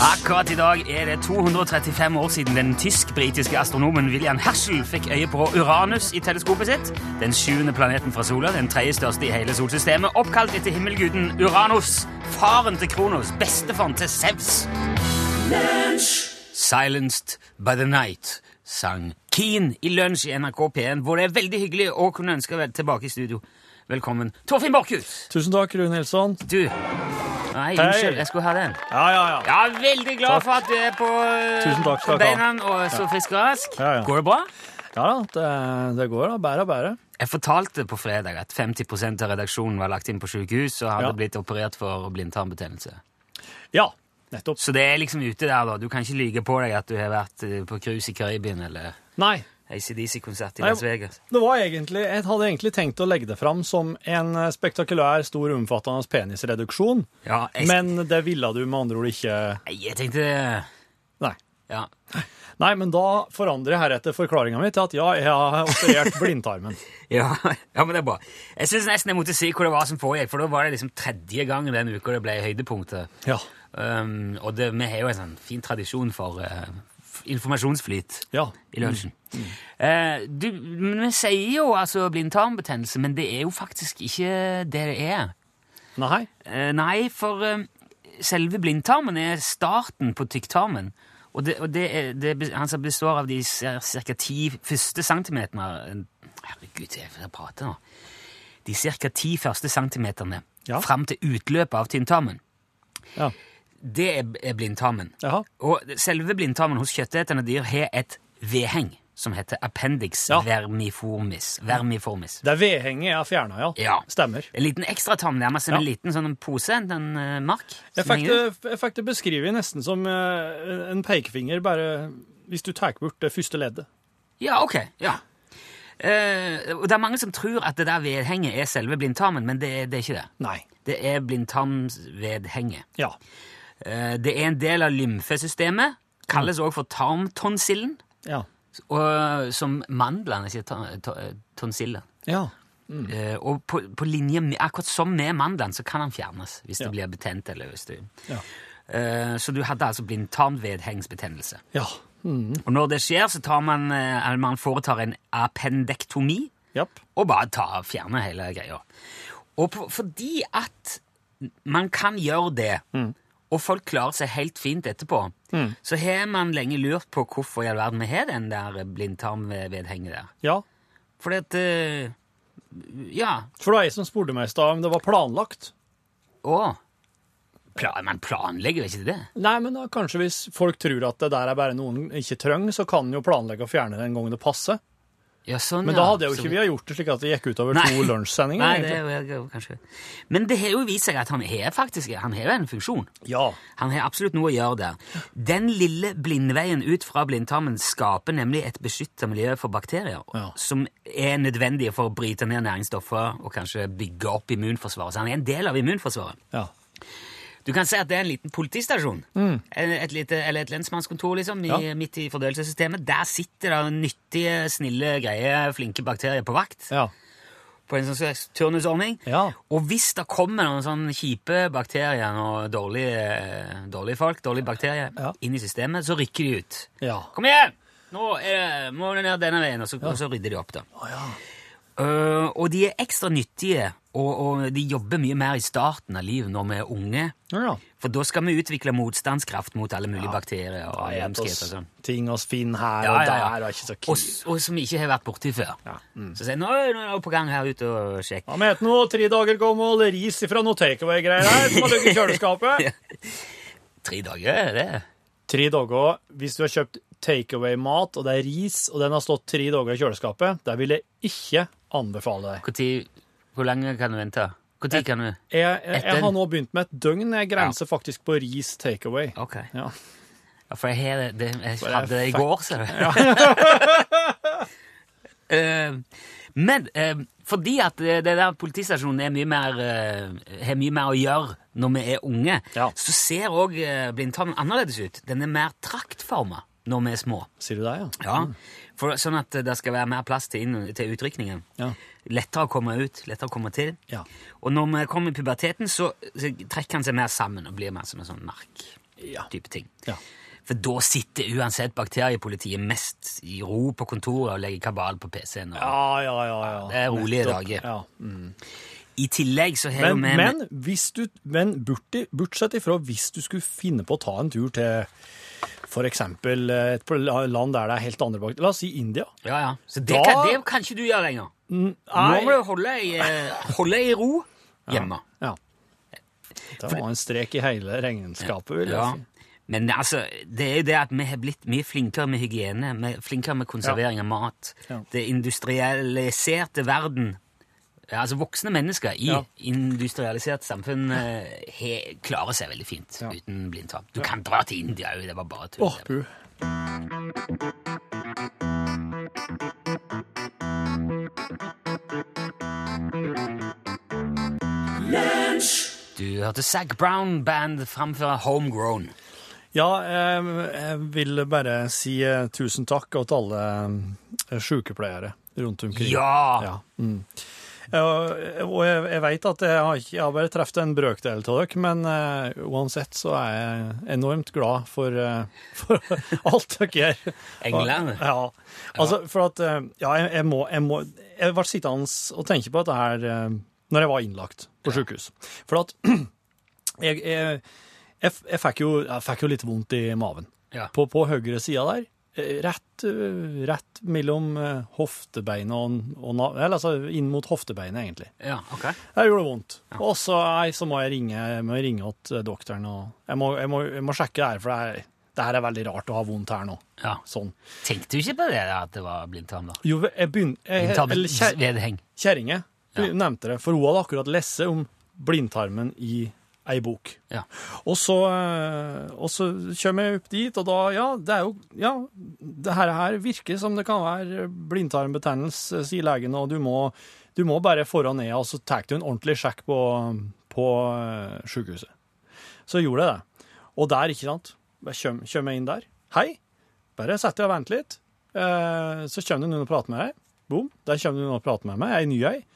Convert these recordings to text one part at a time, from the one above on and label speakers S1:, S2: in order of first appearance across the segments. S1: Akkurat i dag er det 235 år siden den tysk-britiske astronomen William Herschel fikk øye på Uranus i teleskopet sitt, den sjuende planeten fra sola, den tredje største i hele solsystemet, oppkalt etter himmelguden Uranus, faren til Kronos, bestefaren til Sevs. Silenced by the night, sang Keen i lunsj i NRK P1, hvor det er veldig hyggelig å kunne ønske vel tilbake i studio. Velkommen, Torfinn Borchhus!
S2: Tusen takk, Rune Nilsson.
S1: Du Nei, unnskyld, jeg skulle ha den.
S2: Ja, ja, ja.
S1: Ja, veldig glad
S2: Takk.
S1: for at du er på,
S2: Tusen takk
S1: på
S2: skal dere
S1: beina og så frisk og rask.
S2: Ja, ja.
S1: Går det bra?
S2: Ja da, det, det går da. Bære og bære.
S1: Jeg fortalte på fredag at 50 av redaksjonen var lagt inn på sykehus og hadde
S2: Ja.
S1: blitt operert for blindtarmbetennelse.
S2: Ja, nettopp.
S1: Så det er liksom ute der, da. Du kan ikke lyge på deg at du har vært eh, på cruise i Karibien eller
S2: Nei,
S1: ACDC-konsert i
S2: Nei,
S1: Las Vegas.
S2: det var egentlig, jeg hadde egentlig tenkt å legge det fram som en eh, spektakulær, stor, omfattende penisreduksjon,
S1: Ja, jeg,
S2: men det ville du med andre ord ikke...
S1: Nei, jeg tenkte
S2: Nei.
S1: Ja.
S2: Nei, men da forandrer jeg heretter forklaringen min til at ja, jeg har operert blindtarmen.
S1: Ja, ja, men det er bra. Jeg syns nesten jeg måtte si hvor det var som foregikk, for da var det liksom tredje gangen den uka det ble høydepunktet.
S2: Ja,
S1: Um, og det, vi har jo en sånn fin tradisjon for eh, f- informasjonsflyt
S2: ja.
S1: i lunsjen. Eh, du, men vi sier jo altså blindtarmbetennelse, men det er jo faktisk ikke det det er.
S2: Nei,
S1: Eh, nei, for eh, selve blindtarmen er starten på tykktarmen. Og, det, og det, er, det be- altså består av de ca. ti første centimeterne Herregud, jeg får prate nå. De ca. ti første centimeterne
S2: Ja.
S1: fram til utløpet av tynntarmen.
S2: ja,
S1: Det er, er blindtarmen.
S2: jaha.
S1: Og selve blindtarmen hos kjøttetende dyr har et vedheng som heter appendix
S2: Ja.
S1: vermiformis. vermiformis.
S2: Det er vedhenget jeg har fjernet, ja.
S1: Ja.
S2: Stemmer.
S1: En liten ekstra tarm nærmest som
S2: Ja.
S1: en liten sånn pose, en eh, mark.
S2: Jeg
S1: som
S2: fikk,
S1: henger
S2: det,
S1: ut.
S2: jeg fikk det beskrevet nesten som eh, en pekefinger, bare hvis du tar bort det første leddet.
S1: Ja, ok. ja. Eh, og det er mange som tror at det der vedhenget er selve blindtarmen, men det, er- det er ikke det.
S2: Nei.
S1: Det er blindtarmsvedhenget.
S2: Ja.
S1: Eh, det er en del av lymfesystemet, kalles også for tarmtonsillen,
S2: Ja.
S1: og, som mandlene sier ta- ta- tonsillen.
S2: Ja.
S1: Eh, og på, på linje med, akkurat som med mandelen, så kan han fjernes hvis
S2: Ja.
S1: det blir betent. eller hvis det...
S2: Ja.
S1: Eh, så du hadde altså blindtarmvedhengsbetennelse.
S2: Ja. Mm.
S1: Og når det skjer, så tar man, eh, eller man foretar en appendektomi
S2: Japp.
S1: og bare tar, fjerner hele greia. Og på, fordi at man kan gjøre det,
S2: Mm.
S1: og folk klarer seg helt fint etterpå, så har man lenge lurt på hvorfor i all verden vi har den der blindtarmvedhenget der.
S2: Ja.
S1: Fordi at eh, Ja.
S2: For det var jeg som spurte meg i stad om det var planlagt.
S1: Å. Pla- man planlegger jo ikke det.
S2: Nei, men da kanskje hvis folk tror at det der er bare noen ikke trenger, så kan en jo planlegge å fjerne det en gang det passer.
S1: Ja, sånn,
S2: Men
S1: ja.
S2: da hadde jo
S1: Så-
S2: ikke vi ha gjort det slik at det gikk utover
S1: Nei.
S2: to lunsjsendinger.
S1: Nei, det
S2: egentlig.
S1: er jo er kanskje Men det har jo vist seg at han har faktisk Han har jo en funksjon.
S2: Ja.
S1: Han har absolutt noe å gjøre der. Den lille blindveien ut fra blindtarmen skaper nemlig et beskytta miljø for bakterier,
S2: Ja.
S1: som er nødvendige for å bryte ned næringsstoffer og kanskje bygge opp immunforsvaret. Så han er en del av immunforsvaret.
S2: Ja.
S1: Du kan si at det er en liten politistasjon. Et, et lite, eller et lensmannskontor, liksom, i,
S2: Mm. Ja.
S1: midt i fordøyelsessystemet. Der sitter det nyttige, snille, greie, flinke bakterier på vakt.
S2: Ja.
S1: På en sånn slags turnusordning.
S2: Ja.
S1: Og hvis det kommer noen sånne kjipe bakterier og dårlige, dårlige folk, dårlige bakterier,
S2: Ja.
S1: inn i systemet, så rykker de ut.
S2: Ja.
S1: Kom igjen! Nå er det, må du ned denne veien, og så, og så rydder de opp, da. Eh, og de er ekstra nyttige, og, og de jobber mye mer i starten av livet når vi er unge.
S2: Ja, ja.
S1: For da skal vi utvikle motstandskraft mot alle mulige bakterier og
S2: Ja, et
S1: hjemskhet og
S2: oss-
S1: sånn.
S2: Ting oss finn her
S1: Ja, ja,
S2: og
S1: ja.
S2: der, og ikke så
S1: Og,
S2: kul.
S1: s- og som vi ikke har vært borti før.
S2: Ja. mm.
S1: Så sier jeg nå er det på gang her ute og sjekk.
S2: Han heter noe tre dager gammel ris fra noe takeaway-greier her som har ligget i kjøleskapet.
S1: Tre dager, er det?
S2: Tre dager, hvis du har kjøpt takeaway-mat, og det er ris, og den har stått tre dager i kjøleskapet, det vil jeg ikke anbefale deg.
S1: Hvor, tid, hvor lenge kan du vente? Hvor tid kan du
S2: Jeg, jeg,
S1: Etter-
S2: jeg har nå begynt med et døgn, jeg grenser faktisk på ris takeaway.
S1: Ok.
S2: Ja.
S1: Ja, for jeg, har det, det, jeg
S2: jeg
S1: hadde det i
S2: fuck-
S1: går, ser du. Eh, men eh, fordi at eh, det der politistasjonen er mye mer, eh, har mye mer å gjøre når vi er unge,
S2: Ja.
S1: eh, så ser òg blindtarmen annerledes ut. Den er mer traktforma. når vi er små.
S2: Sier du det, ja?
S1: Ja, for, Sånn at det skal være mer plass til, inn, til utrykningen.
S2: Ja.
S1: Lettere å komme ut, lettere å komme til.
S2: Ja.
S1: Og når vi kommer i puberteten, så, så trekker han seg mer sammen og blir mer som en sånn mark-type
S2: Ja.
S1: ting.
S2: Ja.
S1: For da sitter uansett bakteriepolitiet mest i ro på kontoret og legger kabal på PC-en. og-
S2: Ja, ja, ja, ja.
S1: Det er rolige
S2: Nettopp,
S1: dager.
S2: Ja.
S1: I tillegg så har jo
S2: Men,
S1: vi
S2: men, hvis du, men borti, bortsett ifra hvis du skulle finne på å ta en tur til for eksempel eh, et pl- land der det er helt andre bak... La oss si India.
S1: Ja, ja. Så det,
S2: Da-
S1: kan, det kan ikke du gjøre lenger. Nå må
S2: Nei.
S1: du holde i, eh, holde i ro hjemme.
S2: Ja. Det var en strek i hele regnskapet, vil jeg
S1: Ja.
S2: si.
S1: Men altså, det er jo det at vi har blitt mye flinkere med hygiene, med, flinkere med konservering av mat.
S2: Ja.
S1: Det industrialiserte verden, ja, altså voksne mennesker i
S2: Ja.
S1: industrialisert samfunn, eh, he, klarer seg veldig fint
S2: Ja.
S1: uten blindtap. Du kan dra til India jo, det var bare tull.
S2: Åh, puh.
S1: Du hørte Zac Brown Band framføre Homegrown.
S2: Ja, eh, jeg vil bare si eh, tusen takk til alle eh, sykepleiere rundt omkring.
S1: Ja!
S2: Ja. Mm. Eh, Og jeg, jeg vet at jeg har, ikke, jeg har bare truffet en brøkdel av dere, men eh, uansett så er jeg enormt glad for, eh, for alt dere gjør.
S1: England.
S2: Ja. Altså, for at eh, Ja, jeg, jeg må Jeg, må, jeg ble sittende og tenke på dette her eh, når jeg var innlagt på sykehus. For at jeg, jeg, jeg, jeg, fikk jo, jeg fikk jo litt vondt i maven.
S1: Ja.
S2: På, på høyre sida der, eh, rett, eh, rett mellom eh, hoftebeinet og, og na- Eller altså inn mot hoftebeinet, egentlig.
S1: Ja, ok.
S2: Jeg gjorde det vondt. Og så, nei, så må jeg ringe jeg må ringe til doktoren. Og jeg, må, jeg, må, jeg må sjekke det her, for det, er, det her er veldig rart å ha vondt her nå.
S1: Ja.
S2: Sånn.
S1: Tenkte du ikke på det da, at det var blindtarm da?
S2: Jo, jeg begynner
S1: Blindtarmsvedheng.
S2: Kjerringe
S1: Ja.
S2: nevnte det, for hun hadde akkurat lest om blindtarmen i ei bok.
S1: Ja.
S2: Og så, eh, og så kommer jeg opp dit, og da Ja, det er jo Ja, det her, her virker som det kan være blindtarmbetennelse, sier legen, og du må, du må bare foran ned, og så tar du en ordentlig sjekk på, på eh, sykehuset. Så gjorde jeg det. Og der, ikke sant, jeg kjøm- kommer jeg inn der. Hei, bare sett deg og vent litt. Eh, så kommer det noen og prater med deg. Boom, der kommer det noen og prater med meg. Jeg er ny, jeg.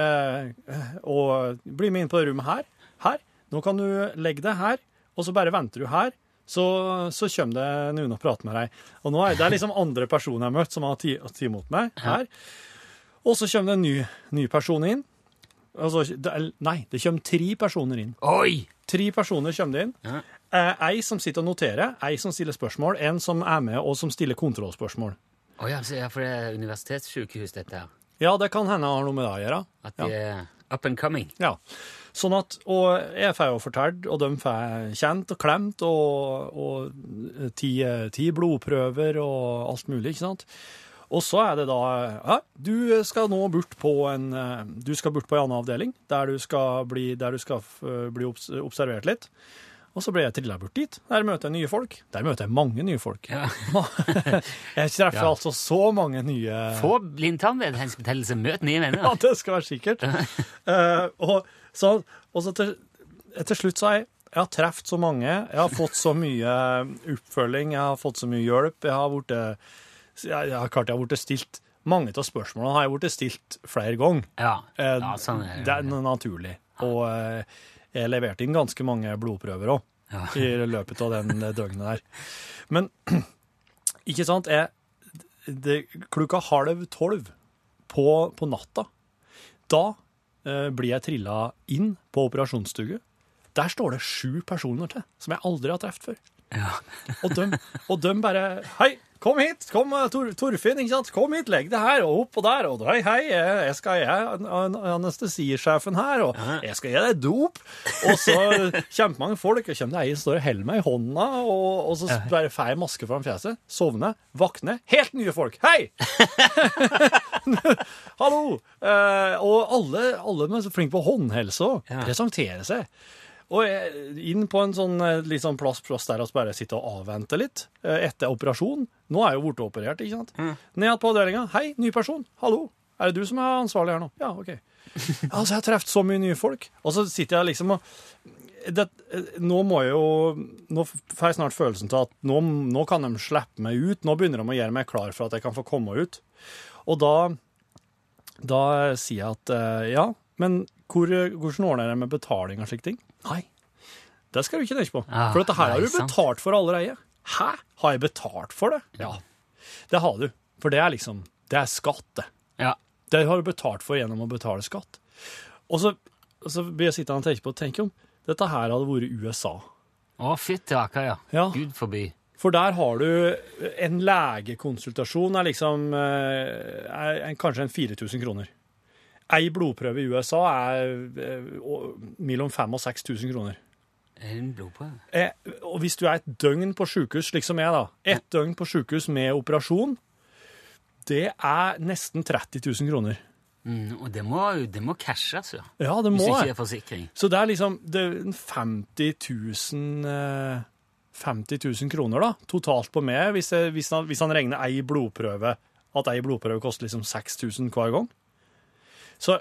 S2: Eh, og bli med inn på det rommet her. Her. Nå kan du legge deg her, og så bare venter du her. Så, så kommer det noen og prater med deg. Og nå er det er liksom andre personer jeg har møtt som har tatt imot meg her. Og så kommer det en ny, ny person inn. Og så, det er- nei, det kommer tre personer inn.
S1: Oi!
S2: Tre personer kommer det inn.
S1: Ja.
S2: Eh, ei som sitter og noterer, ei som stiller spørsmål, en som er med og som stiller kontrollspørsmål.
S1: Å ja, så- ja, for det er universitetssykehus, dette her.
S2: Ja, det kan hende har noe med det å gjøre.
S1: At de er up and coming.
S2: Ja. Sånn at, og jeg får jo fortalt, og de får kjent og klemt, og, og ti, ti blodprøver og alt mulig, ikke sant? Og så er det da, ja, du skal nå bort på en, eh, du skal bort på en annen avdeling, der du skal bli, der du skal f- bli obs observert litt. Og så ble jeg trillet bort dit. Der møter jeg nye folk. Der møter jeg mange nye folk.
S1: Ja.
S2: Jeg treffer
S1: Ja.
S2: altså så mange nye...
S1: Få blindtarmvedhensbetennelse, møt nye venner.
S2: Ja, det skal være sikkert. Eh, og, så, og så til, til slutt så har jeg, jeg har treffet så mange, jeg har fått så mye eh, oppfølging, jeg har fått så mye hjelp, jeg har vært, jeg, jeg har klart jeg har vært stilt, mange av spørsmålene har jeg vært stilt flere ganger.
S1: Ja,
S2: Eh,
S1: ja sånn er
S2: det er
S1: det.
S2: n- naturlig. Og eh, jeg leverte inn ganske mange blodprøver òg,
S1: Ja.
S2: i løpet av den det døgnet der. Men ikke sant jeg, det, Klokka halv tolv på, på natta, da eh, blir jeg trilla inn på operasjonsstugu. Der står det sju personer til, som jeg aldri har truffet før.
S1: Ja.
S2: Og de, og dem bare Hei, kom hit! Kom, eh, Tor, Torfinn, ikke sant? Kom hit, legg det her, og opp og der. Og hei, hei, eh, jeg skal jeg er an- an- anestesisjefen her, og jeg skal gi deg dop. Og så kjempemange folk, og kommer det ei som står og holder meg i hånda, og, og så bare får jeg maske foran fjeset, sovner, våkner, helt nye folk. Hei! Hallo! Eh, og alle, alle er så flinke på håndhelse òg.
S1: Ja.
S2: Presentere seg. Og jeg, inn på en sånn eh, litt sånn plass, plass der vi bare sitter og avventer litt eh, etter operasjon. Nå er jeg jo borte operert, ikke sant? Ned på avdelinga. Hei, ny person. Hallo. Er det du som er ansvarlig her nå? Ja, OK. Altså, jeg har truffet så mye nye folk. Og så sitter jeg liksom og det, nå må jeg jo Nå får jeg snart følelsen til at nå, nå kan de slippe meg ut. Nå begynner de å gjøre meg klar for at jeg kan få komme ut. Og da, da sier jeg at eh, ja, men hvor, hvordan ordner jeg med betaling og slike ting? Nei, det skal du ikke tenke på.
S1: Ah,
S2: for dette her har
S1: nei,
S2: du
S1: sant.
S2: betalt for allerede. Hæ? Har jeg betalt for det? Ja, det har du. For det er liksom Det er skatt, det.
S1: Ja.
S2: Det har du betalt for gjennom å betale skatt. Og så, og så blir jeg sittende og tenke på Tenk om dette her hadde vært USA.
S1: Å, fytti rakker, ja.
S2: Ja.
S1: Gud forby.
S2: For der har du en legekonsultasjon er liksom eh, er en, kanskje en 4000 kroner. Ei blodprøve i USA er eh, å- mellom 5000 og 6000 kroner.
S1: Er det en blodprøve?
S2: Eh, Og hvis du er et døgn på sjukehus, slik som jeg, da Et døgn på sjukehus med operasjon, det er nesten 30 000 kroner.
S1: Mm, og det må, det må cashes, ja.
S2: Ja, det
S1: Hvis
S2: må
S1: ikke
S2: jeg.
S1: det er forsikring.
S2: Så det er liksom det er en 50 000 eh, 50 000 kroner da, totalt på meg, hvis, jeg, hvis, han, hvis han regner ei blodprøve, at ei blodprøve koster liksom 6000 hver gang. Så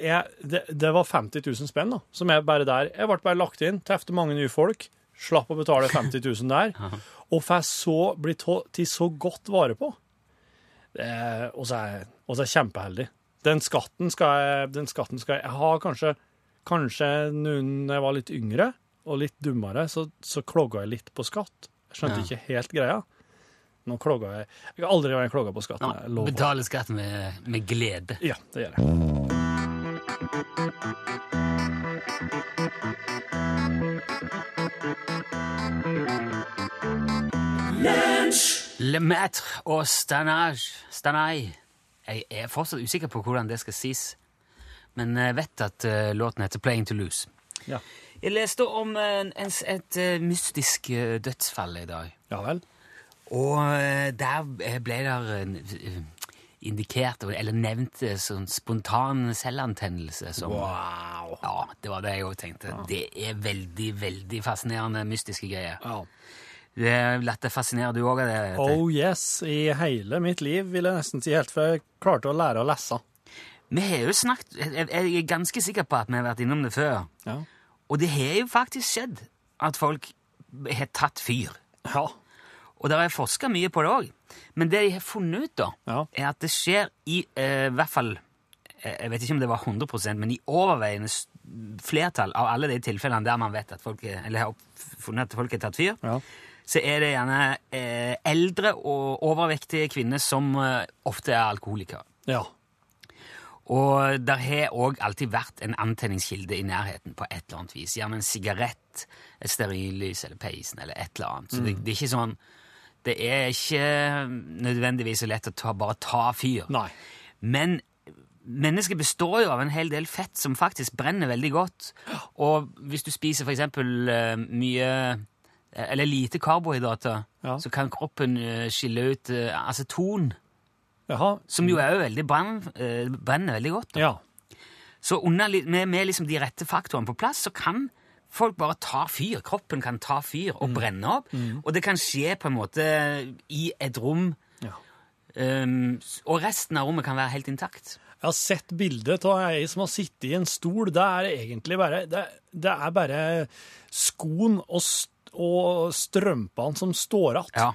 S2: jeg, det, det var 50 000 spenn da, som jeg bare der, jeg ble bare lagt inn, treffte mange nye folk, slapp å betale 50 000 der, og får så bli tå- til så godt vare på. Eh, og så er jeg- og så er jeg kjempeheldig. Den skatten skal jeg, den skatten skal jeg, jeg har kanskje, kanskje noen, når jeg var litt yngre og litt dummere, så, så klogga jeg litt på skatt. Jeg skjønte
S1: Ja.
S2: ikke helt greia. Nå klogga jeg Jeg har aldri vært klogga på skatt.
S1: Nå,
S2: jeg lover.
S1: betale skatt med, med glede.
S2: Ja, det gjør jeg.
S1: Le maître og stanage. Stanai. Jeg er fortsatt usikker på hvordan det skal sies, men jeg vet at eh, låten heter Playing to Lose.
S2: Ja.
S1: Jeg leste om eh, en, en, et eh, mystisk eh, dødsfall i dag.
S2: ja vel.
S1: Og eh, der ble der eh, indikert, eller nevnt, eh, sånn spontan selvantennelse. Som,
S2: Wow.
S1: Ja, det var det jeg òg tenkte. Det er veldig, veldig fascinerende mystiske greier.
S2: Ja.
S1: Det er lett å fascinere du òg av det. vet jeg.
S2: Oh yes. I hele mitt liv, vil jeg nesten si, helt fra jeg klarte å lære å lese.
S1: Vi har jo snakket jeg, jeg er ganske sikker på at vi har vært innom det før.
S2: Ja.
S1: Og det har jo faktisk skjedd at folk har tatt fyr.
S2: Ja.
S1: Og der har jeg forska mye på det òg. Men det de har funnet ut, da,
S2: Ja.
S1: er at det skjer i eh, hvert fall eh, Jeg vet ikke om det var 100 men i overveiende s- flertall av alle de tilfellene der man vet at folk er, eller har opp- funnet at folk har tatt fyr,
S2: Ja.
S1: så er det gjerne eh, eldre og overvektige kvinner som eh, ofte er alkoholikere.
S2: ja.
S1: Og der har òg alltid vært en antenningskilde i nærheten på et eller annet vis. Gjerne en sigarett, et stearinlys eller peisen eller et eller annet. Så
S2: Mm.
S1: det, det er ikke sånn Det er ikke nødvendigvis så lett å ta, bare ta fyr.
S2: Nei.
S1: Men mennesket består jo av en hel del fett som faktisk brenner veldig godt. Og hvis du spiser for eksempel eh, mye eh, eller lite karbohydrater,
S2: Ja.
S1: så kan kroppen eh, skille ut eh, aceton,
S2: Jaha.
S1: som jo er jo veldig brann, eh, brenner veldig godt. da.
S2: Ja.
S1: Så under, li- med, med liksom de rette faktorene på plass, så kan folk bare ta fyr. Kroppen kan ta fyr
S2: Mm.
S1: og brenne opp. Og det kan skje på en måte i et rom,
S2: ja.
S1: ehm, s- og resten av rommet kan være helt intakt.
S2: Jeg har sett bildet av ei som har sittet i en stol. Det er egentlig bare, det, det er bare skoen og, st og strømpene som står igjen.
S1: Ja.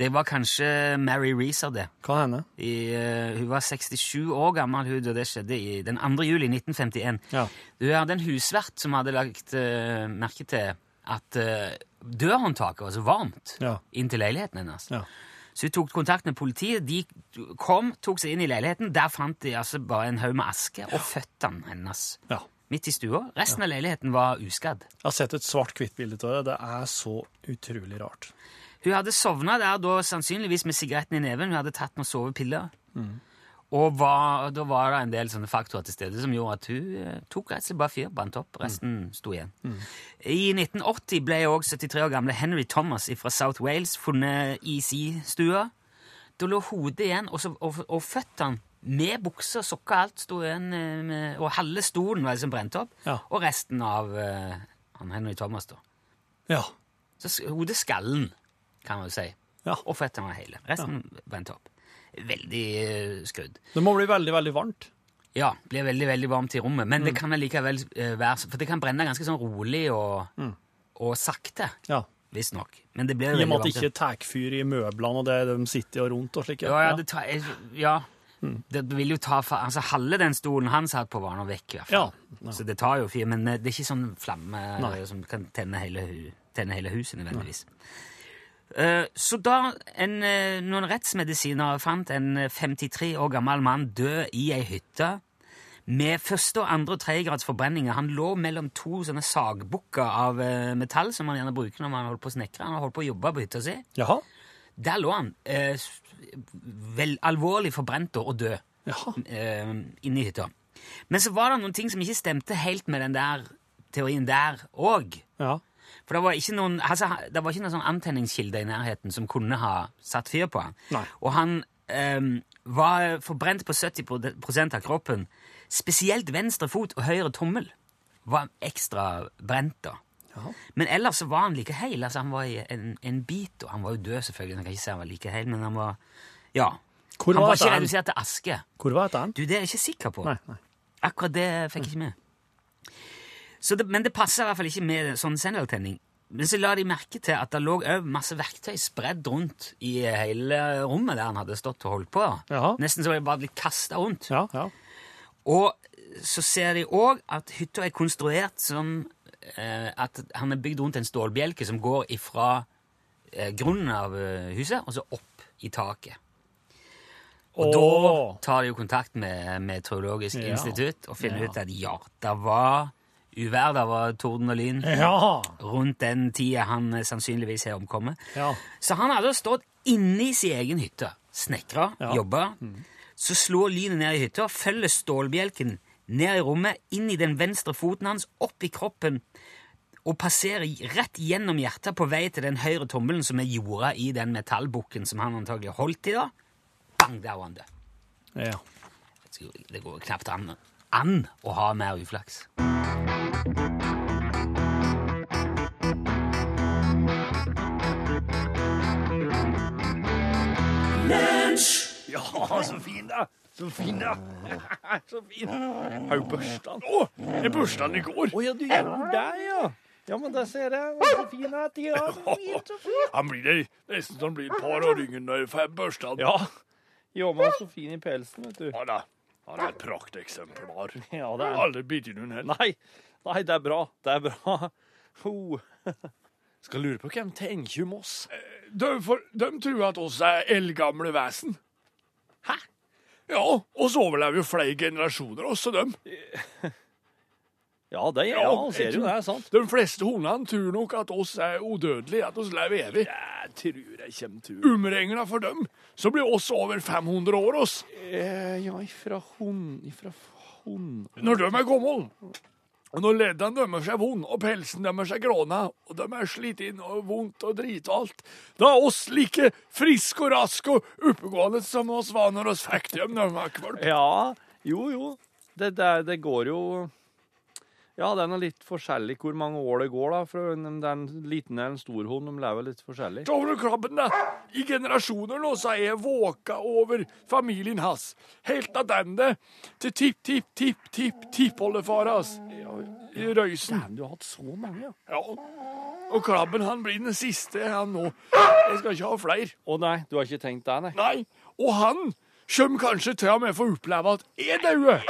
S1: Det var kanskje Mary Reeser, det.
S2: Hva hender?
S1: I, eh, hun var 67 år gammel, hun, da det skjedde i, den 2. juli 1951.
S2: Ja.
S1: Hun hadde en husvert som hadde lagt eh, merke til at eh, dørhåndtaket var så varmt
S2: Ja.
S1: inn til leiligheten hennes.
S2: Ja.
S1: Så hun tok kontakt med politiet. De kom, tok seg inn i leiligheten. Der fant de altså bare en haug med aske og føttene hennes
S2: ja.
S1: midt i stua. Resten av leiligheten var uskadd.
S2: Jeg har sett et svart-hvitt bilde av det. Det er så utrolig rart.
S1: Hun hadde sovna der da sannsynligvis med sigaretten i neven. Hun hadde tatt noen sovepiller. Og var, da var det en del sånne faktorer til stede som gjorde at hun eh, tok rett og slett bare fyr, bandt opp, resten sto igjen. I 1980 ble òg 73 år gamle Henry Thomas fra South Wales funnet i si stue. Da lå hodet igjen, og, så, og, og føttene med bukser, sokker, alt sto igjen. eh, med- Og halve stolen var liksom brent opp.
S2: Ja.
S1: Og resten av eh, han Henry Thomas, da.
S2: Ja.
S1: Så s- hodeskallen, kan man jo si.
S2: Ja.
S1: Og føttene var hele. Resten vendte opp. Veldig eh, skrudd.
S2: Det må bli veldig, veldig varmt.
S1: Ja, blir veldig veldig varmt i rommet,
S3: Mm.
S1: men det kan likevel eh, være så- For det kan brenne ganske sånn rolig og, og sakte,
S3: Ja.
S1: visstnok. Men det blir
S3: Mm. I og
S1: veldig
S3: med at det
S1: varmt.
S3: ikke tar fyr i møblene og det de sitter i og rundt og slik.
S1: ja, ja, det tar, eh, ja.
S3: Mm.
S1: Det vil jo ta fa- Altså, halve den stolen han satt på, var nå vekk, i hvert fall.
S3: Ja. Ja.
S1: Så det tar jo fyr, men eh, det er ikke sånn flamme eh,
S3: Nei.
S1: som kan tenne hele, hu- tenne hele huset, nødvendigvis. Eh, Så da en, eh, noen rettsmedisinere fant en eh, 53 år gammel mann død i ei hytte med første, og andre og tredjegrads forbrenninger Han lå mellom to sånne sagbukker av eh, metall som man gjerne bruker når man holder på å snekre. Han holdt på å jobbe på hytta si.
S3: Jaha.
S1: Der lå han, eh, s- vel alvorlig forbrent og død
S3: Jaha.
S1: eh, inne i hytta. Men så var det noen ting som ikke stemte helt med den der teorien der òg.
S3: Ja.
S1: For det var ikke noen, altså, det var ikke noen sånn antenningskilde i nærheten som kunne ha satt fyr på han.
S3: Nei.
S1: Og han ehm, var forbrent på 70 av kroppen. Spesielt venstre fot og høyre tommel var ekstra brent da.
S3: Jaha.
S1: Men ellers så var han like heil. Altså, han var i en, en bit, og han var jo død selvfølgelig. så Jeg kan ikke si han var like heil, men han var, ja.
S3: Hvor
S1: han
S3: var
S1: var ikke
S3: dette hen?
S1: redusert til aske.
S3: Hvor var dette hen?
S1: Du, det er jeg ikke sikker på.
S3: Nei, nei.
S1: Akkurat det fikk jeg ikke med. Så det, men det passer i hvert fall ikke med sånn sendeltenning. Men så la de merke til at det lå også masse verktøy spredd rundt i hele rommet der han hadde stått og holdt på.
S3: Jaha.
S1: Nesten så det bare blitt kasta rundt.
S3: Ja, ja.
S1: Og så ser de òg at hytta er konstruert som eh, at han er bygd rundt en stålbjelke som går ifra eh, grunnen av eh, huset og så opp i taket. Og da
S3: Åh.
S1: tar de jo kontakt med Meteorologisk
S3: Ja.
S1: institutt og finner
S3: Ja.
S1: ut at ja, det var uvær, det var torden og lyn
S3: Ja.
S1: rundt den tida han eh, sannsynligvis er omkommet.
S3: Ja.
S1: Så han hadde stått inni sin egen hytte, snekra,
S3: Ja. Mm.
S1: jobba. Så slår lynet ned i hytta, følger stålbjelken ned i rommet, inn i den venstre foten hans, opp i kroppen, og passerer rett gjennom hjertet på vei til den høyre tommelen som er jorda i den metallbukken som han antagelig holdt i da. Bang, der var han død.
S3: Ja.
S1: Det går knapt an, an å ha mer uflaks.
S3: Ja, så fin, da! Så fin, da! så fin. Har du bursdagen? Å, det er bursdagen i går!
S2: Å ja, du gjorde det, ja. Ja, men da ser jeg. Å, Så fin at de har så fint, så fint.
S3: Han blir det nesten som han blir et par år yngre når han får bursdagen.
S2: Ja. Jo, men så fin i pelsen, vet du.
S3: Ja da. Han er et prakteksemplar.
S2: Ja, det er
S3: Aldri bitt i noen hel.
S2: Nei, nei, det er bra. Det er bra. Ho. Skal lure på hvem tenker om oss.
S3: De, for, de tror at oss er eldgamle vesen. Hæ? Ja, oss overlever jo flere generasjoner, oss og dem.
S2: Ja, det er ja, han ser jo det, er sant.
S3: De fleste hundene tror nok at oss er udødelige, at oss lever evig.
S2: Jeg tror jeg kommer til å-
S3: Umregna for dem, så blir oss over 500 år, oss.
S2: Eh, Ja, ifra hund... Ifra hund...
S3: Når de er gammel, og når leddene dømmer seg vond, og pelsen dømmer seg gråna, og de er slitt inn og vondt og drit og alt, da er oss like friske og raske og oppegående som oss var når oss fikk dem når de var kvalp.
S2: Ja, jo, jo. Det, der, det går jo Ja, det er noe litt forskjellig hvor mange år det går, da. For om det er en liten eller en stor hund, de lever litt forskjellig.
S3: Over krabben da, i generasjoner nå, så er jeg våka over familien hans, helt attende til tipp-tipp-tipp-tipp-tippoldefar hans, i Røysen.
S2: Men du har hatt så mange, ja.
S3: Ja. Og krabben, han blir den siste, han nå. Jeg skal ikke ha flere.
S2: Å nei, du har ikke tenkt deg, nei?
S3: Nei, og han kjem kanskje til og med få oppleve at jeg dauer.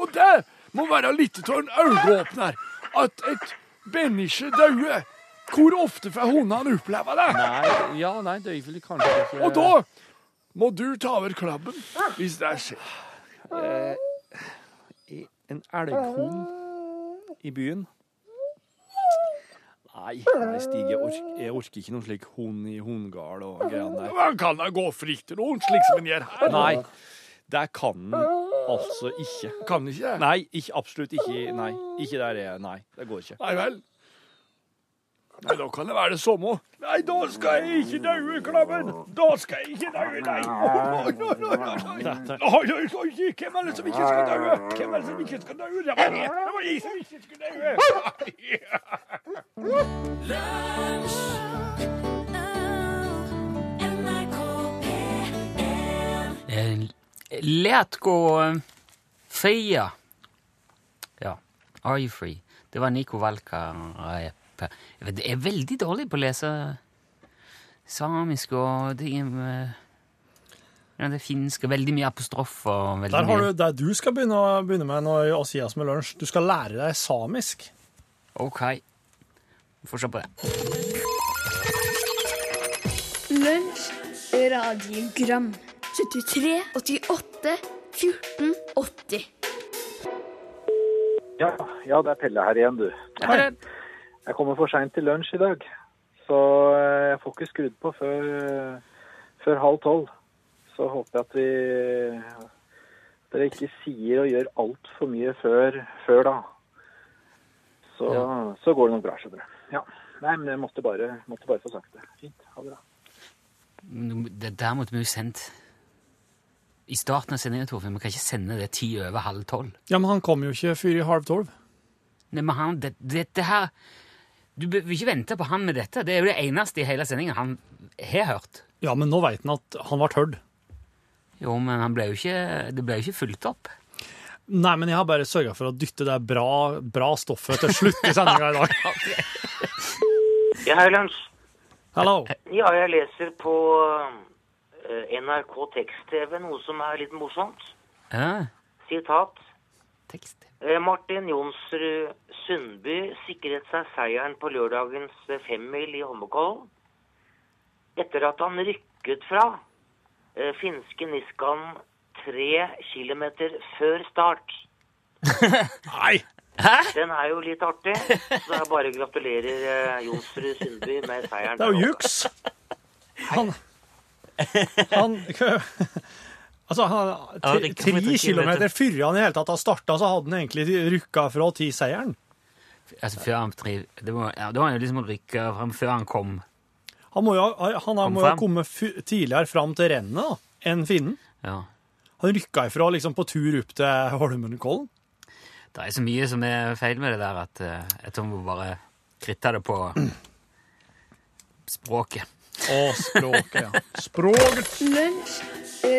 S3: Og det må være litt av en øyeåpner. At et menneske dauer. Hvor ofte får hundene oppleve det?
S2: Nei, ja, nei, det vil kanskje ikke
S3: Og da må du ta over klabben hvis det skjer.
S2: En elghund i byen. Nei, nei Stig, jeg, ork, jeg orker ikke noen slik hund i hundegard og greiene der.
S3: Man kan da gå fritt rundt slik som en gjør her.
S2: Nei, det kan den altså ikke.
S3: Kan ikke det?
S2: Nei, ikke, absolutt ikke. Nei, ikke der jeg er. Nei, det går ikke.
S3: Nei vel. Nei, da kan det være det samme. Nei, da skal jeg ikke daue, klabben. Da skal jeg ikke daue, nei. Oi, oi, oi, oi, oi. Oi, oi, oi, oi, Hvem er det som ikke skal daue? Hvem er det som ikke skal daue? Det var jeg, det var jeg som ikke skulle daue.
S4: NRK P1.
S1: Eh, Let gå eh, Euphoria. Ja. Are you free? Det var Nico Valkarepe. Jeg vet, Jeg er veldig dårlig på å lese samisk og det, eh, ja, det finske. Veldig mye apostrofer. og veldig
S2: Der har
S1: mye-
S2: du det du skal begynne, å, begynne med når vi gir oss med lunsj. Du skal lære deg samisk.
S1: Ok. Vi får se på det.
S4: Lunsj, radiogram 73, 88, 14, 80
S5: Ja, ja, det er Pelle her igjen, du.
S1: Hei.
S5: Jeg kommer for seint til lunsj i dag, så eh, jeg får ikke skrudd på før, eh, før halv tolv. Så håper jeg at vi dere ikke sier og gjør altfor mye før, før da. Så, så går det nok bra, skjønner du. Ja. Nei, men jeg måtte bare, måtte bare få sagt det. Fint. Ha det bra.
S1: Nå- Det der måtte vi jo sendt i starten av sendingen, Torfinn. Vi kan ikke sende det ti over halv tolv.
S2: Ja, men han kom jo ikke før i halv tolv.
S1: Nei, men han, det, dette her Du bør ikke vente på han med dette. Det er jo det eneste i hele sendingen han har hørt.
S2: Ja, men nå veit han at han ble hørt.
S1: Jo, men han ble jo ikke, det ble jo ikke fulgt opp.
S2: Nei, men jeg har bare sørga for å dytte det bra, bra stoffet til slutt i sendinga i dag.
S6: Jeg har lunsj.
S2: Hello.
S6: Ja, jeg leser på eh, NRK Tekst-TV noe som er litt morsomt.
S1: Ja,
S6: Sitat.
S1: tekst.
S6: eh, Martin Jonsrud Sundby sikret seg seieren på lørdagens eh, femmil i Holmenkollen. Etter at han rykket fra eh, finske Niskan tre kilometer før start.
S2: Nei!
S6: Den er jo litt artig, så jeg bare gratulerer eh, Jonsrud Sundby med seieren.
S2: Det er jo juks! Han Han Altså, han,
S1: Ja,
S2: tre,
S1: det kan vi ta
S2: tre
S1: kilometer.
S2: kilometer før han i hele tatt har starta, så hadde han egentlig rykka fra til seieren.
S1: Altså, før han triv, det var, ja, Da var han jo liksom rykka fram før han kom.
S2: Han må jo ha- han har-
S1: Kom
S2: må jo ha
S1: frem.
S2: kommet fu- tidligere fram til rennet da, enn finnen.
S1: Ja.
S2: Han rykka ifra liksom på tur opp til Holmenkollen.
S1: Det er så mye som er feil med det der at eh, jeg tror vi bare kritter det på språket.
S2: Å, språket, ja. Språket!
S4: Lunsj,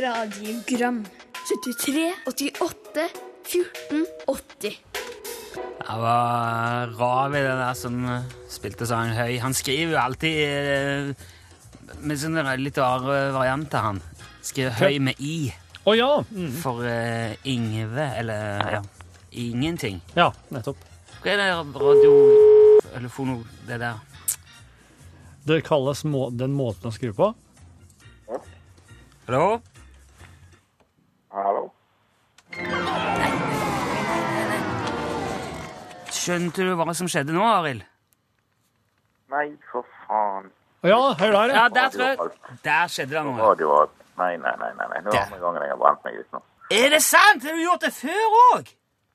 S4: radiogram 73, 88, 14, 80
S1: Det var Ravi, den der som spilte sangen høy. Han skriver jo alltid eh, med sånne litt rare varianter, han. Skriver høy med i
S2: Å ja. Mm.
S1: for eh, Ingve, eller ja, ingenting.
S2: Ja, nettopp.
S1: Hva er det radio... Eller fono... Det der.
S2: Det kalles må den måten å skru på.
S1: Hallo?
S5: Hallo.
S1: Skjønte du hva som skjedde nå, Arild?
S7: Nei, for faen.
S2: Å ja, hør der,
S1: Ja,
S2: ja.
S1: der tror jeg... Der skjedde det noe.
S7: Radio var Nei, nei, nei. nei, nei. Nå er det andre gangen jeg har brent meg ut nå.
S1: Er det sant? Har du gjort det før òg?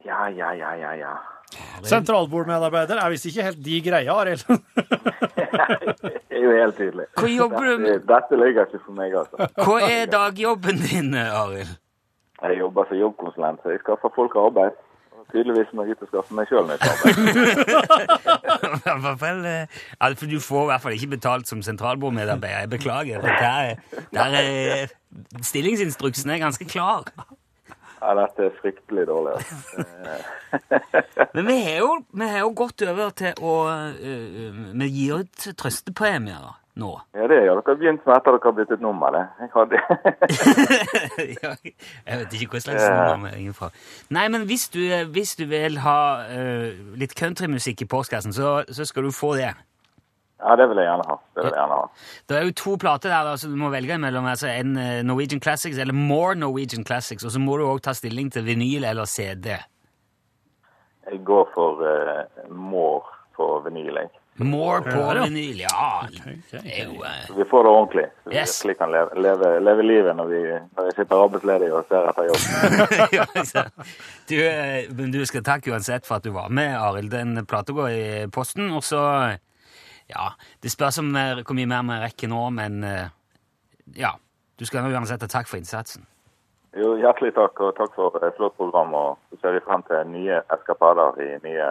S7: Ja, ja, ja, ja. ja.
S2: Sentralbordmedarbeider er visst ikke helt de greia, Arild.
S7: Det er jo helt tydelig.
S1: Hvor jobber du med?
S7: Dette, dette ligger ikke for meg, altså.
S1: Hva er dagjobben din, Arild?
S7: Jeg jobber som jobbkonsulent, så jeg skaffer folk arbeid. Og Tydeligvis må jeg ut og skaffe meg sjøl nytt arbeid.
S1: I hvert fall, eh, ja, for Du får i hvert fall ikke betalt som sentralbordmedarbeider. Jeg beklager. for Der, er- der er Stillingsinstruksen er ganske klar.
S7: Ja, dette er fryktelig dårlig. altså.
S1: Men vi har jo, vi har jo gått over til å eh, Vi gir ut trøstepremier nå.
S7: Ja, det gjør dere begynt med etter dere har byttet nummer, det. Jeg hadde...
S1: Ja, Jeg vet ikke hva slags nummer vi ringer fra. Nei, men hvis du, eh, hvis du vil ha eh, litt countrymusikk i postkassen, så, så skal du få det.
S7: Ja, det vil jeg gjerne ha. Det vil jeg gjerne ha.
S1: Det er jo to plater der da, som du må velge imellom. Altså en eh, Norwegian Classics eller More Norwegian Classics. Og så må du òg ta stilling til vinyl eller CD.
S7: Jeg går for uh, More på vinyl, jeg.
S1: More på
S2: Ja, ja.
S1: vinyl, ja. Det er jo eh,
S7: Så Vi får det ordentlig. Så vi
S1: Yes.
S7: virkelig kan leve, leve, leve livet når vi, når vi sitter arbeidsledige og ser etter jobb.
S1: ja, altså. du, eh, Men du skal takke uansett for at du var med, Arild. Den plata går i posten. Og så Ja, det spørs om eh, hvor mye mer vi rekker nå, men eh, ja. Du skal uansett ha takk for innsatsen.
S7: Jo, hjertelig takk, og takk for et flott program. Og så ser vi frem til nye eskapader i nye,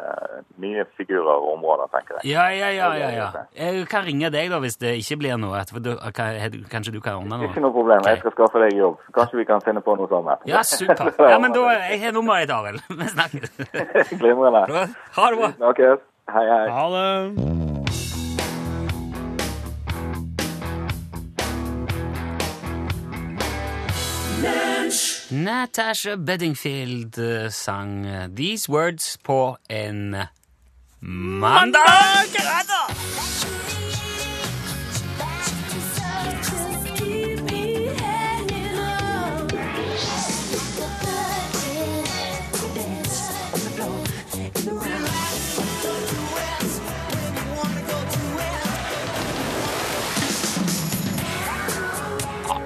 S7: nye figurer og områder, tenker jeg.
S1: Ja, ja, ja, ja, ja. Jeg kan ringe deg da hvis det ikke blir noe. For du, kan- kanskje du kan ordne
S7: Ikke
S1: noe?
S7: noe problem. Jeg skal skaffe deg jobb. så Kanskje vi kan finne på noe sammen.
S1: Ja, super. Ja, men da Jeg har nummeret ditt, Arild. Vi snakkes.
S7: Glimrende.
S1: Da- Ha det bra.
S7: Snakkes. Hei, hei.
S2: Ha det.
S1: Natasha Beddingfield eh, sang eh, These Words på en mandag!
S4: Oh,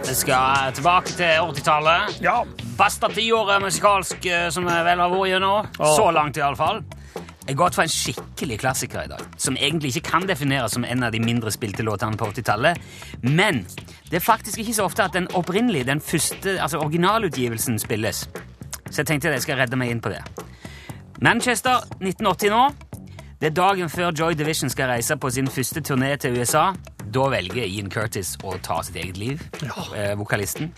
S1: Vi skal tilbake til 80-tallet.
S2: Ja.
S1: Basta tiåret musikalsk eh, som jeg vel har vært gjennom. Så langt, iallfall. Jeg går for en skikkelig klassiker i dag, som egentlig ikke kan defineres som en av de mindre spilte låtene på 80-tallet. Men det er faktisk ikke så ofte at den opprinnelige, den første, altså originalutgivelsen spilles. Så jeg tenkte jeg skal redde meg inn på det. Manchester, 1980 nå. Det er dagen før Joy Division skal reise på sin første turné til USA. Da velger Ian Curtis å ta sitt eget liv, eh, vokalisten.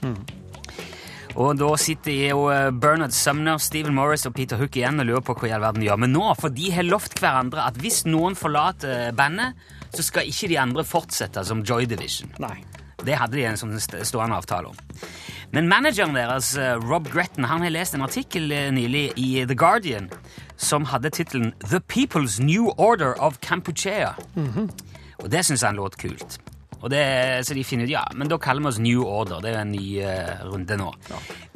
S1: Og da sitter jo eh, Bernard Sumner, Stephen Morris og Peter Hook igjen og lurer på hva i all verden de gjør. Men nå, for de har lovt hverandre at hvis noen forlater eh, bandet, så skal ikke de andre fortsette som Joy Division.
S2: Nei.
S1: Det hadde de en sånn st- stående avtale om. Men manageren deres, eh, Rob Gretton, han har lest en artikkel eh, nylig i The Guardian som hadde tittelen The People's New Order of Kampuchea. Og det syns han låt kult. Og det, så de finner ut ja, men da kaller vi oss New Order. Det er jo en ny eh, runde nå.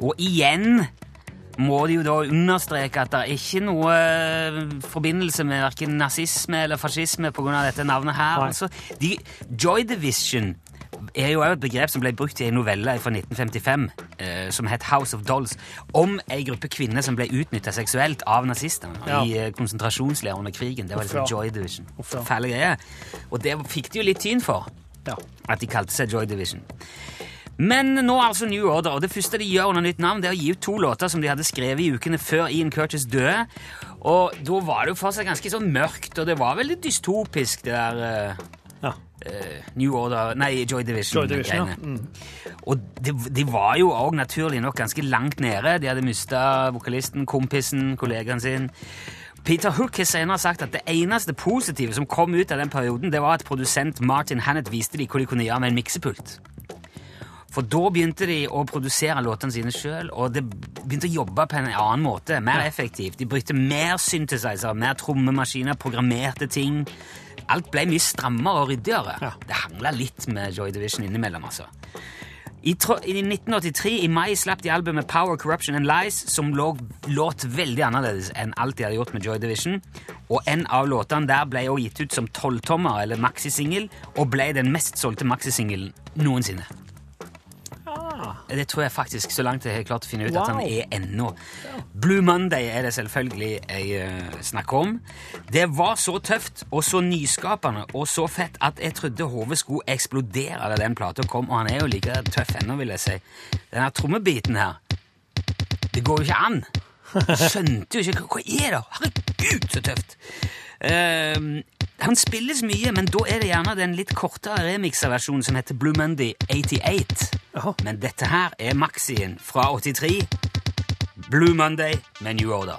S1: Og igjen må de jo da understreke at det er ikke noe eh, forbindelse med verken nazisme eller fascisme pga. dette navnet her.
S2: Nei.
S1: Altså, de, Joy Division er jo også et begrep som ble brukt i en novelle fra 1955 eh, som het House of Dolls, om ei gruppe kvinner som ble utnytta seksuelt av nazistene
S2: Ja.
S1: i eh, konsentrasjonsleirer under krigen. Det var liksom
S2: Uff, ja.
S1: Joy Division.
S2: Uff, ja.
S1: Fæle greier. Og det fikk de jo litt tyn for
S2: Ja.
S1: at de kalte seg Joy Division. Men nå altså New Order, og det første de gjør under nytt navn, det er å gi ut to låter som de hadde skrevet i ukene før Ian Curtis døde. Og da var det jo fortsatt ganske sånn mørkt, og det var veldig dystopisk, det der
S2: Ja.
S1: eh, eh, New Order Nei, Joy Division.
S2: Joy Division, ja. Mm.
S1: greiene. Og de, de var jo òg naturlig nok ganske langt nede. De hadde mista vokalisten, kompisen, kollegaen sin. Peter Hook har senere sagt at det eneste positive som kom ut av den perioden, det var at produsent Martin Hannett viste de hva de kunne gjøre med en miksepult. For da begynte de å produsere låtene sine sjøl, og de begynte å jobbe på en annen måte, mer effektivt. De brukte mer synthesizer, mer trommemaskiner, programmerte ting. Alt ble mye strammere og ryddigere. Det hangla litt med Joy Division innimellom, altså. I, tro- I 1983, i mai, slapp de albumet Power, Corruption and Lies, som lå, låt veldig annerledes enn alt de hadde gjort med Joy Division. Og en av låtene der ble også gitt ut som tolvtommer eller maxisingel, og ble den mest solgte maxisingelen noensinne. Det tror jeg faktisk, så langt jeg har klart å finne ut at han
S2: Wow.
S1: er ennå. Blue Monday er det selvfølgelig jeg eh, snakker om. Det var så tøft og så nyskapende og så fett at jeg trodde hodet skulle eksplodere da den plata kom, og han er jo like tøff ennå, vil jeg si. Den her trommebiten her, det går jo ikke an. Skjønte jo ikke Hva er det? Herregud, så tøft! Ehm, han spilles mye, men da er det gjerne den litt kortere remixer-versjonen som heter Blue Monday 88.
S2: Jaha.
S1: Men dette her er maxien fra 83. Blue Monday med New Order.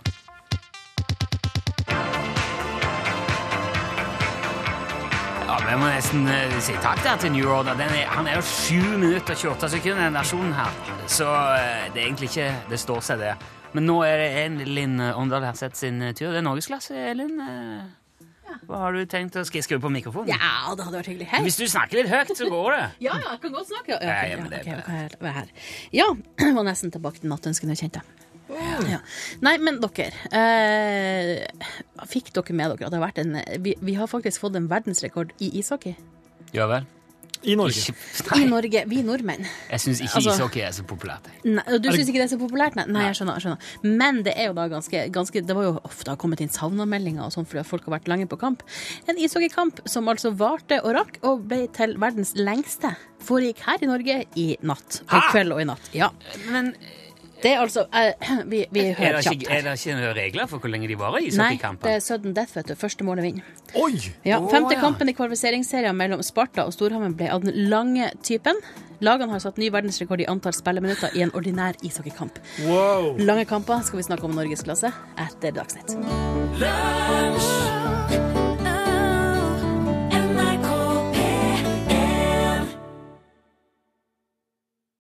S1: Ja, Vi må nesten eh, si takk der til New Order. Den er, han er jo 7 minutter og 28 sekunder, den versjonen her. Så eh, det er egentlig ikke Det står seg, det. Men nå er det Elin Åndal Herseth sin eh, tur. Det er norgesklasse, Elin. Eh, Hva har du tenkt å Skal jeg skru på mikrofonen?
S8: Ja, det hadde vært hyggelig. Hei.
S1: Hvis du snakker litt høyt, så går det.
S8: Ja, ja, jeg kan godt snakke. Ja,
S1: Nei,
S8: ok,
S1: men det er
S8: ok,
S1: bare-
S8: hva er- hva er her? Ja, jeg var nesten tilbake til nattønskene jeg kjente. Ja. Nei, men dere. Eh, fikk dere med dere at det har vært en vi, vi har faktisk fått en verdensrekord i ishockey
S1: Ja vel.
S2: I Norge.
S1: Ikke,
S8: i
S1: nei,
S8: Norge. Vi nordmenn.
S1: jeg syns ikke
S8: Altså-
S1: ishockey er så populært. jeg.
S8: Nei, og du syns ikke det er så populært? Nei, nei jeg skjønner. jeg skjønner. Men det er jo da ganske, ganske Det var jo ofte har kommet inn savnameldinger og sånn fordi at folk har vært lenge på kamp. En ishockeykamp som altså varte og rakk og ble til verdens lengste, foregikk her i Norge i natt. I kveld og i natt. Ja.
S1: Men
S8: Det er altså eh, Vi, vi
S1: Er
S8: hører
S1: det,
S8: kjapt
S1: ikke, er
S8: her.
S1: det ikke noen regler for hvor lenge de varer i
S8: Nei, det
S1: ishockeykampen?
S8: er sudden death, vet du. Første målet vinner.
S2: Oi!
S8: Ja,
S1: Å,
S8: femte
S1: ja.
S8: kampen i kvalifiseringsserien mellom Sparta og Storhammen ble av den lange typen. Lagene har satt ny verdensrekord i antall spilleminutter i en ordinær ishockeykamp.
S2: Wow!
S8: Lange kamper skal vi snakke om i norgesklasse etter Dagsnytt.
S9: Lunsj!